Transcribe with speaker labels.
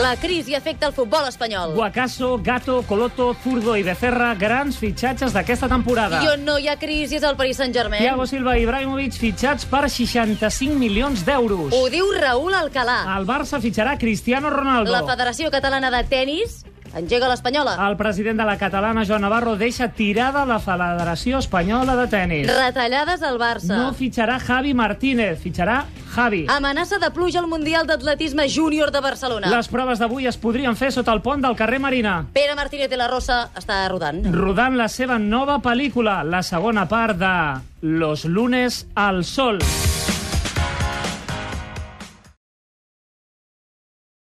Speaker 1: La crisi afecta el futbol espanyol.
Speaker 2: Guacasso, Gato, Coloto, Zurdo i Becerra, grans fitxatges d'aquesta temporada.
Speaker 1: I on no eh? hi ha crisi és el Paris Saint-Germain.
Speaker 2: Thiago Silva i Ibrahimovic fitxats per 65 milions d'euros.
Speaker 1: Ho diu Raül Alcalà.
Speaker 2: El Barça fitxarà Cristiano Ronaldo.
Speaker 1: La Federació Catalana de Tennis engega l'Espanyola.
Speaker 2: El president de la catalana, Joan Navarro, deixa tirada la Federació Espanyola de Tenis.
Speaker 1: Retallades al Barça.
Speaker 2: No fitxarà Javi Martínez, fitxarà Javi.
Speaker 1: Amenaça de pluja al Mundial d'Atletisme Júnior de Barcelona.
Speaker 2: Les proves d'avui es podrien fer sota el pont del carrer Marina.
Speaker 1: Pere Martínez de la Rosa està rodant.
Speaker 2: Rodant la seva nova pel·lícula, la segona part de Los lunes al sol.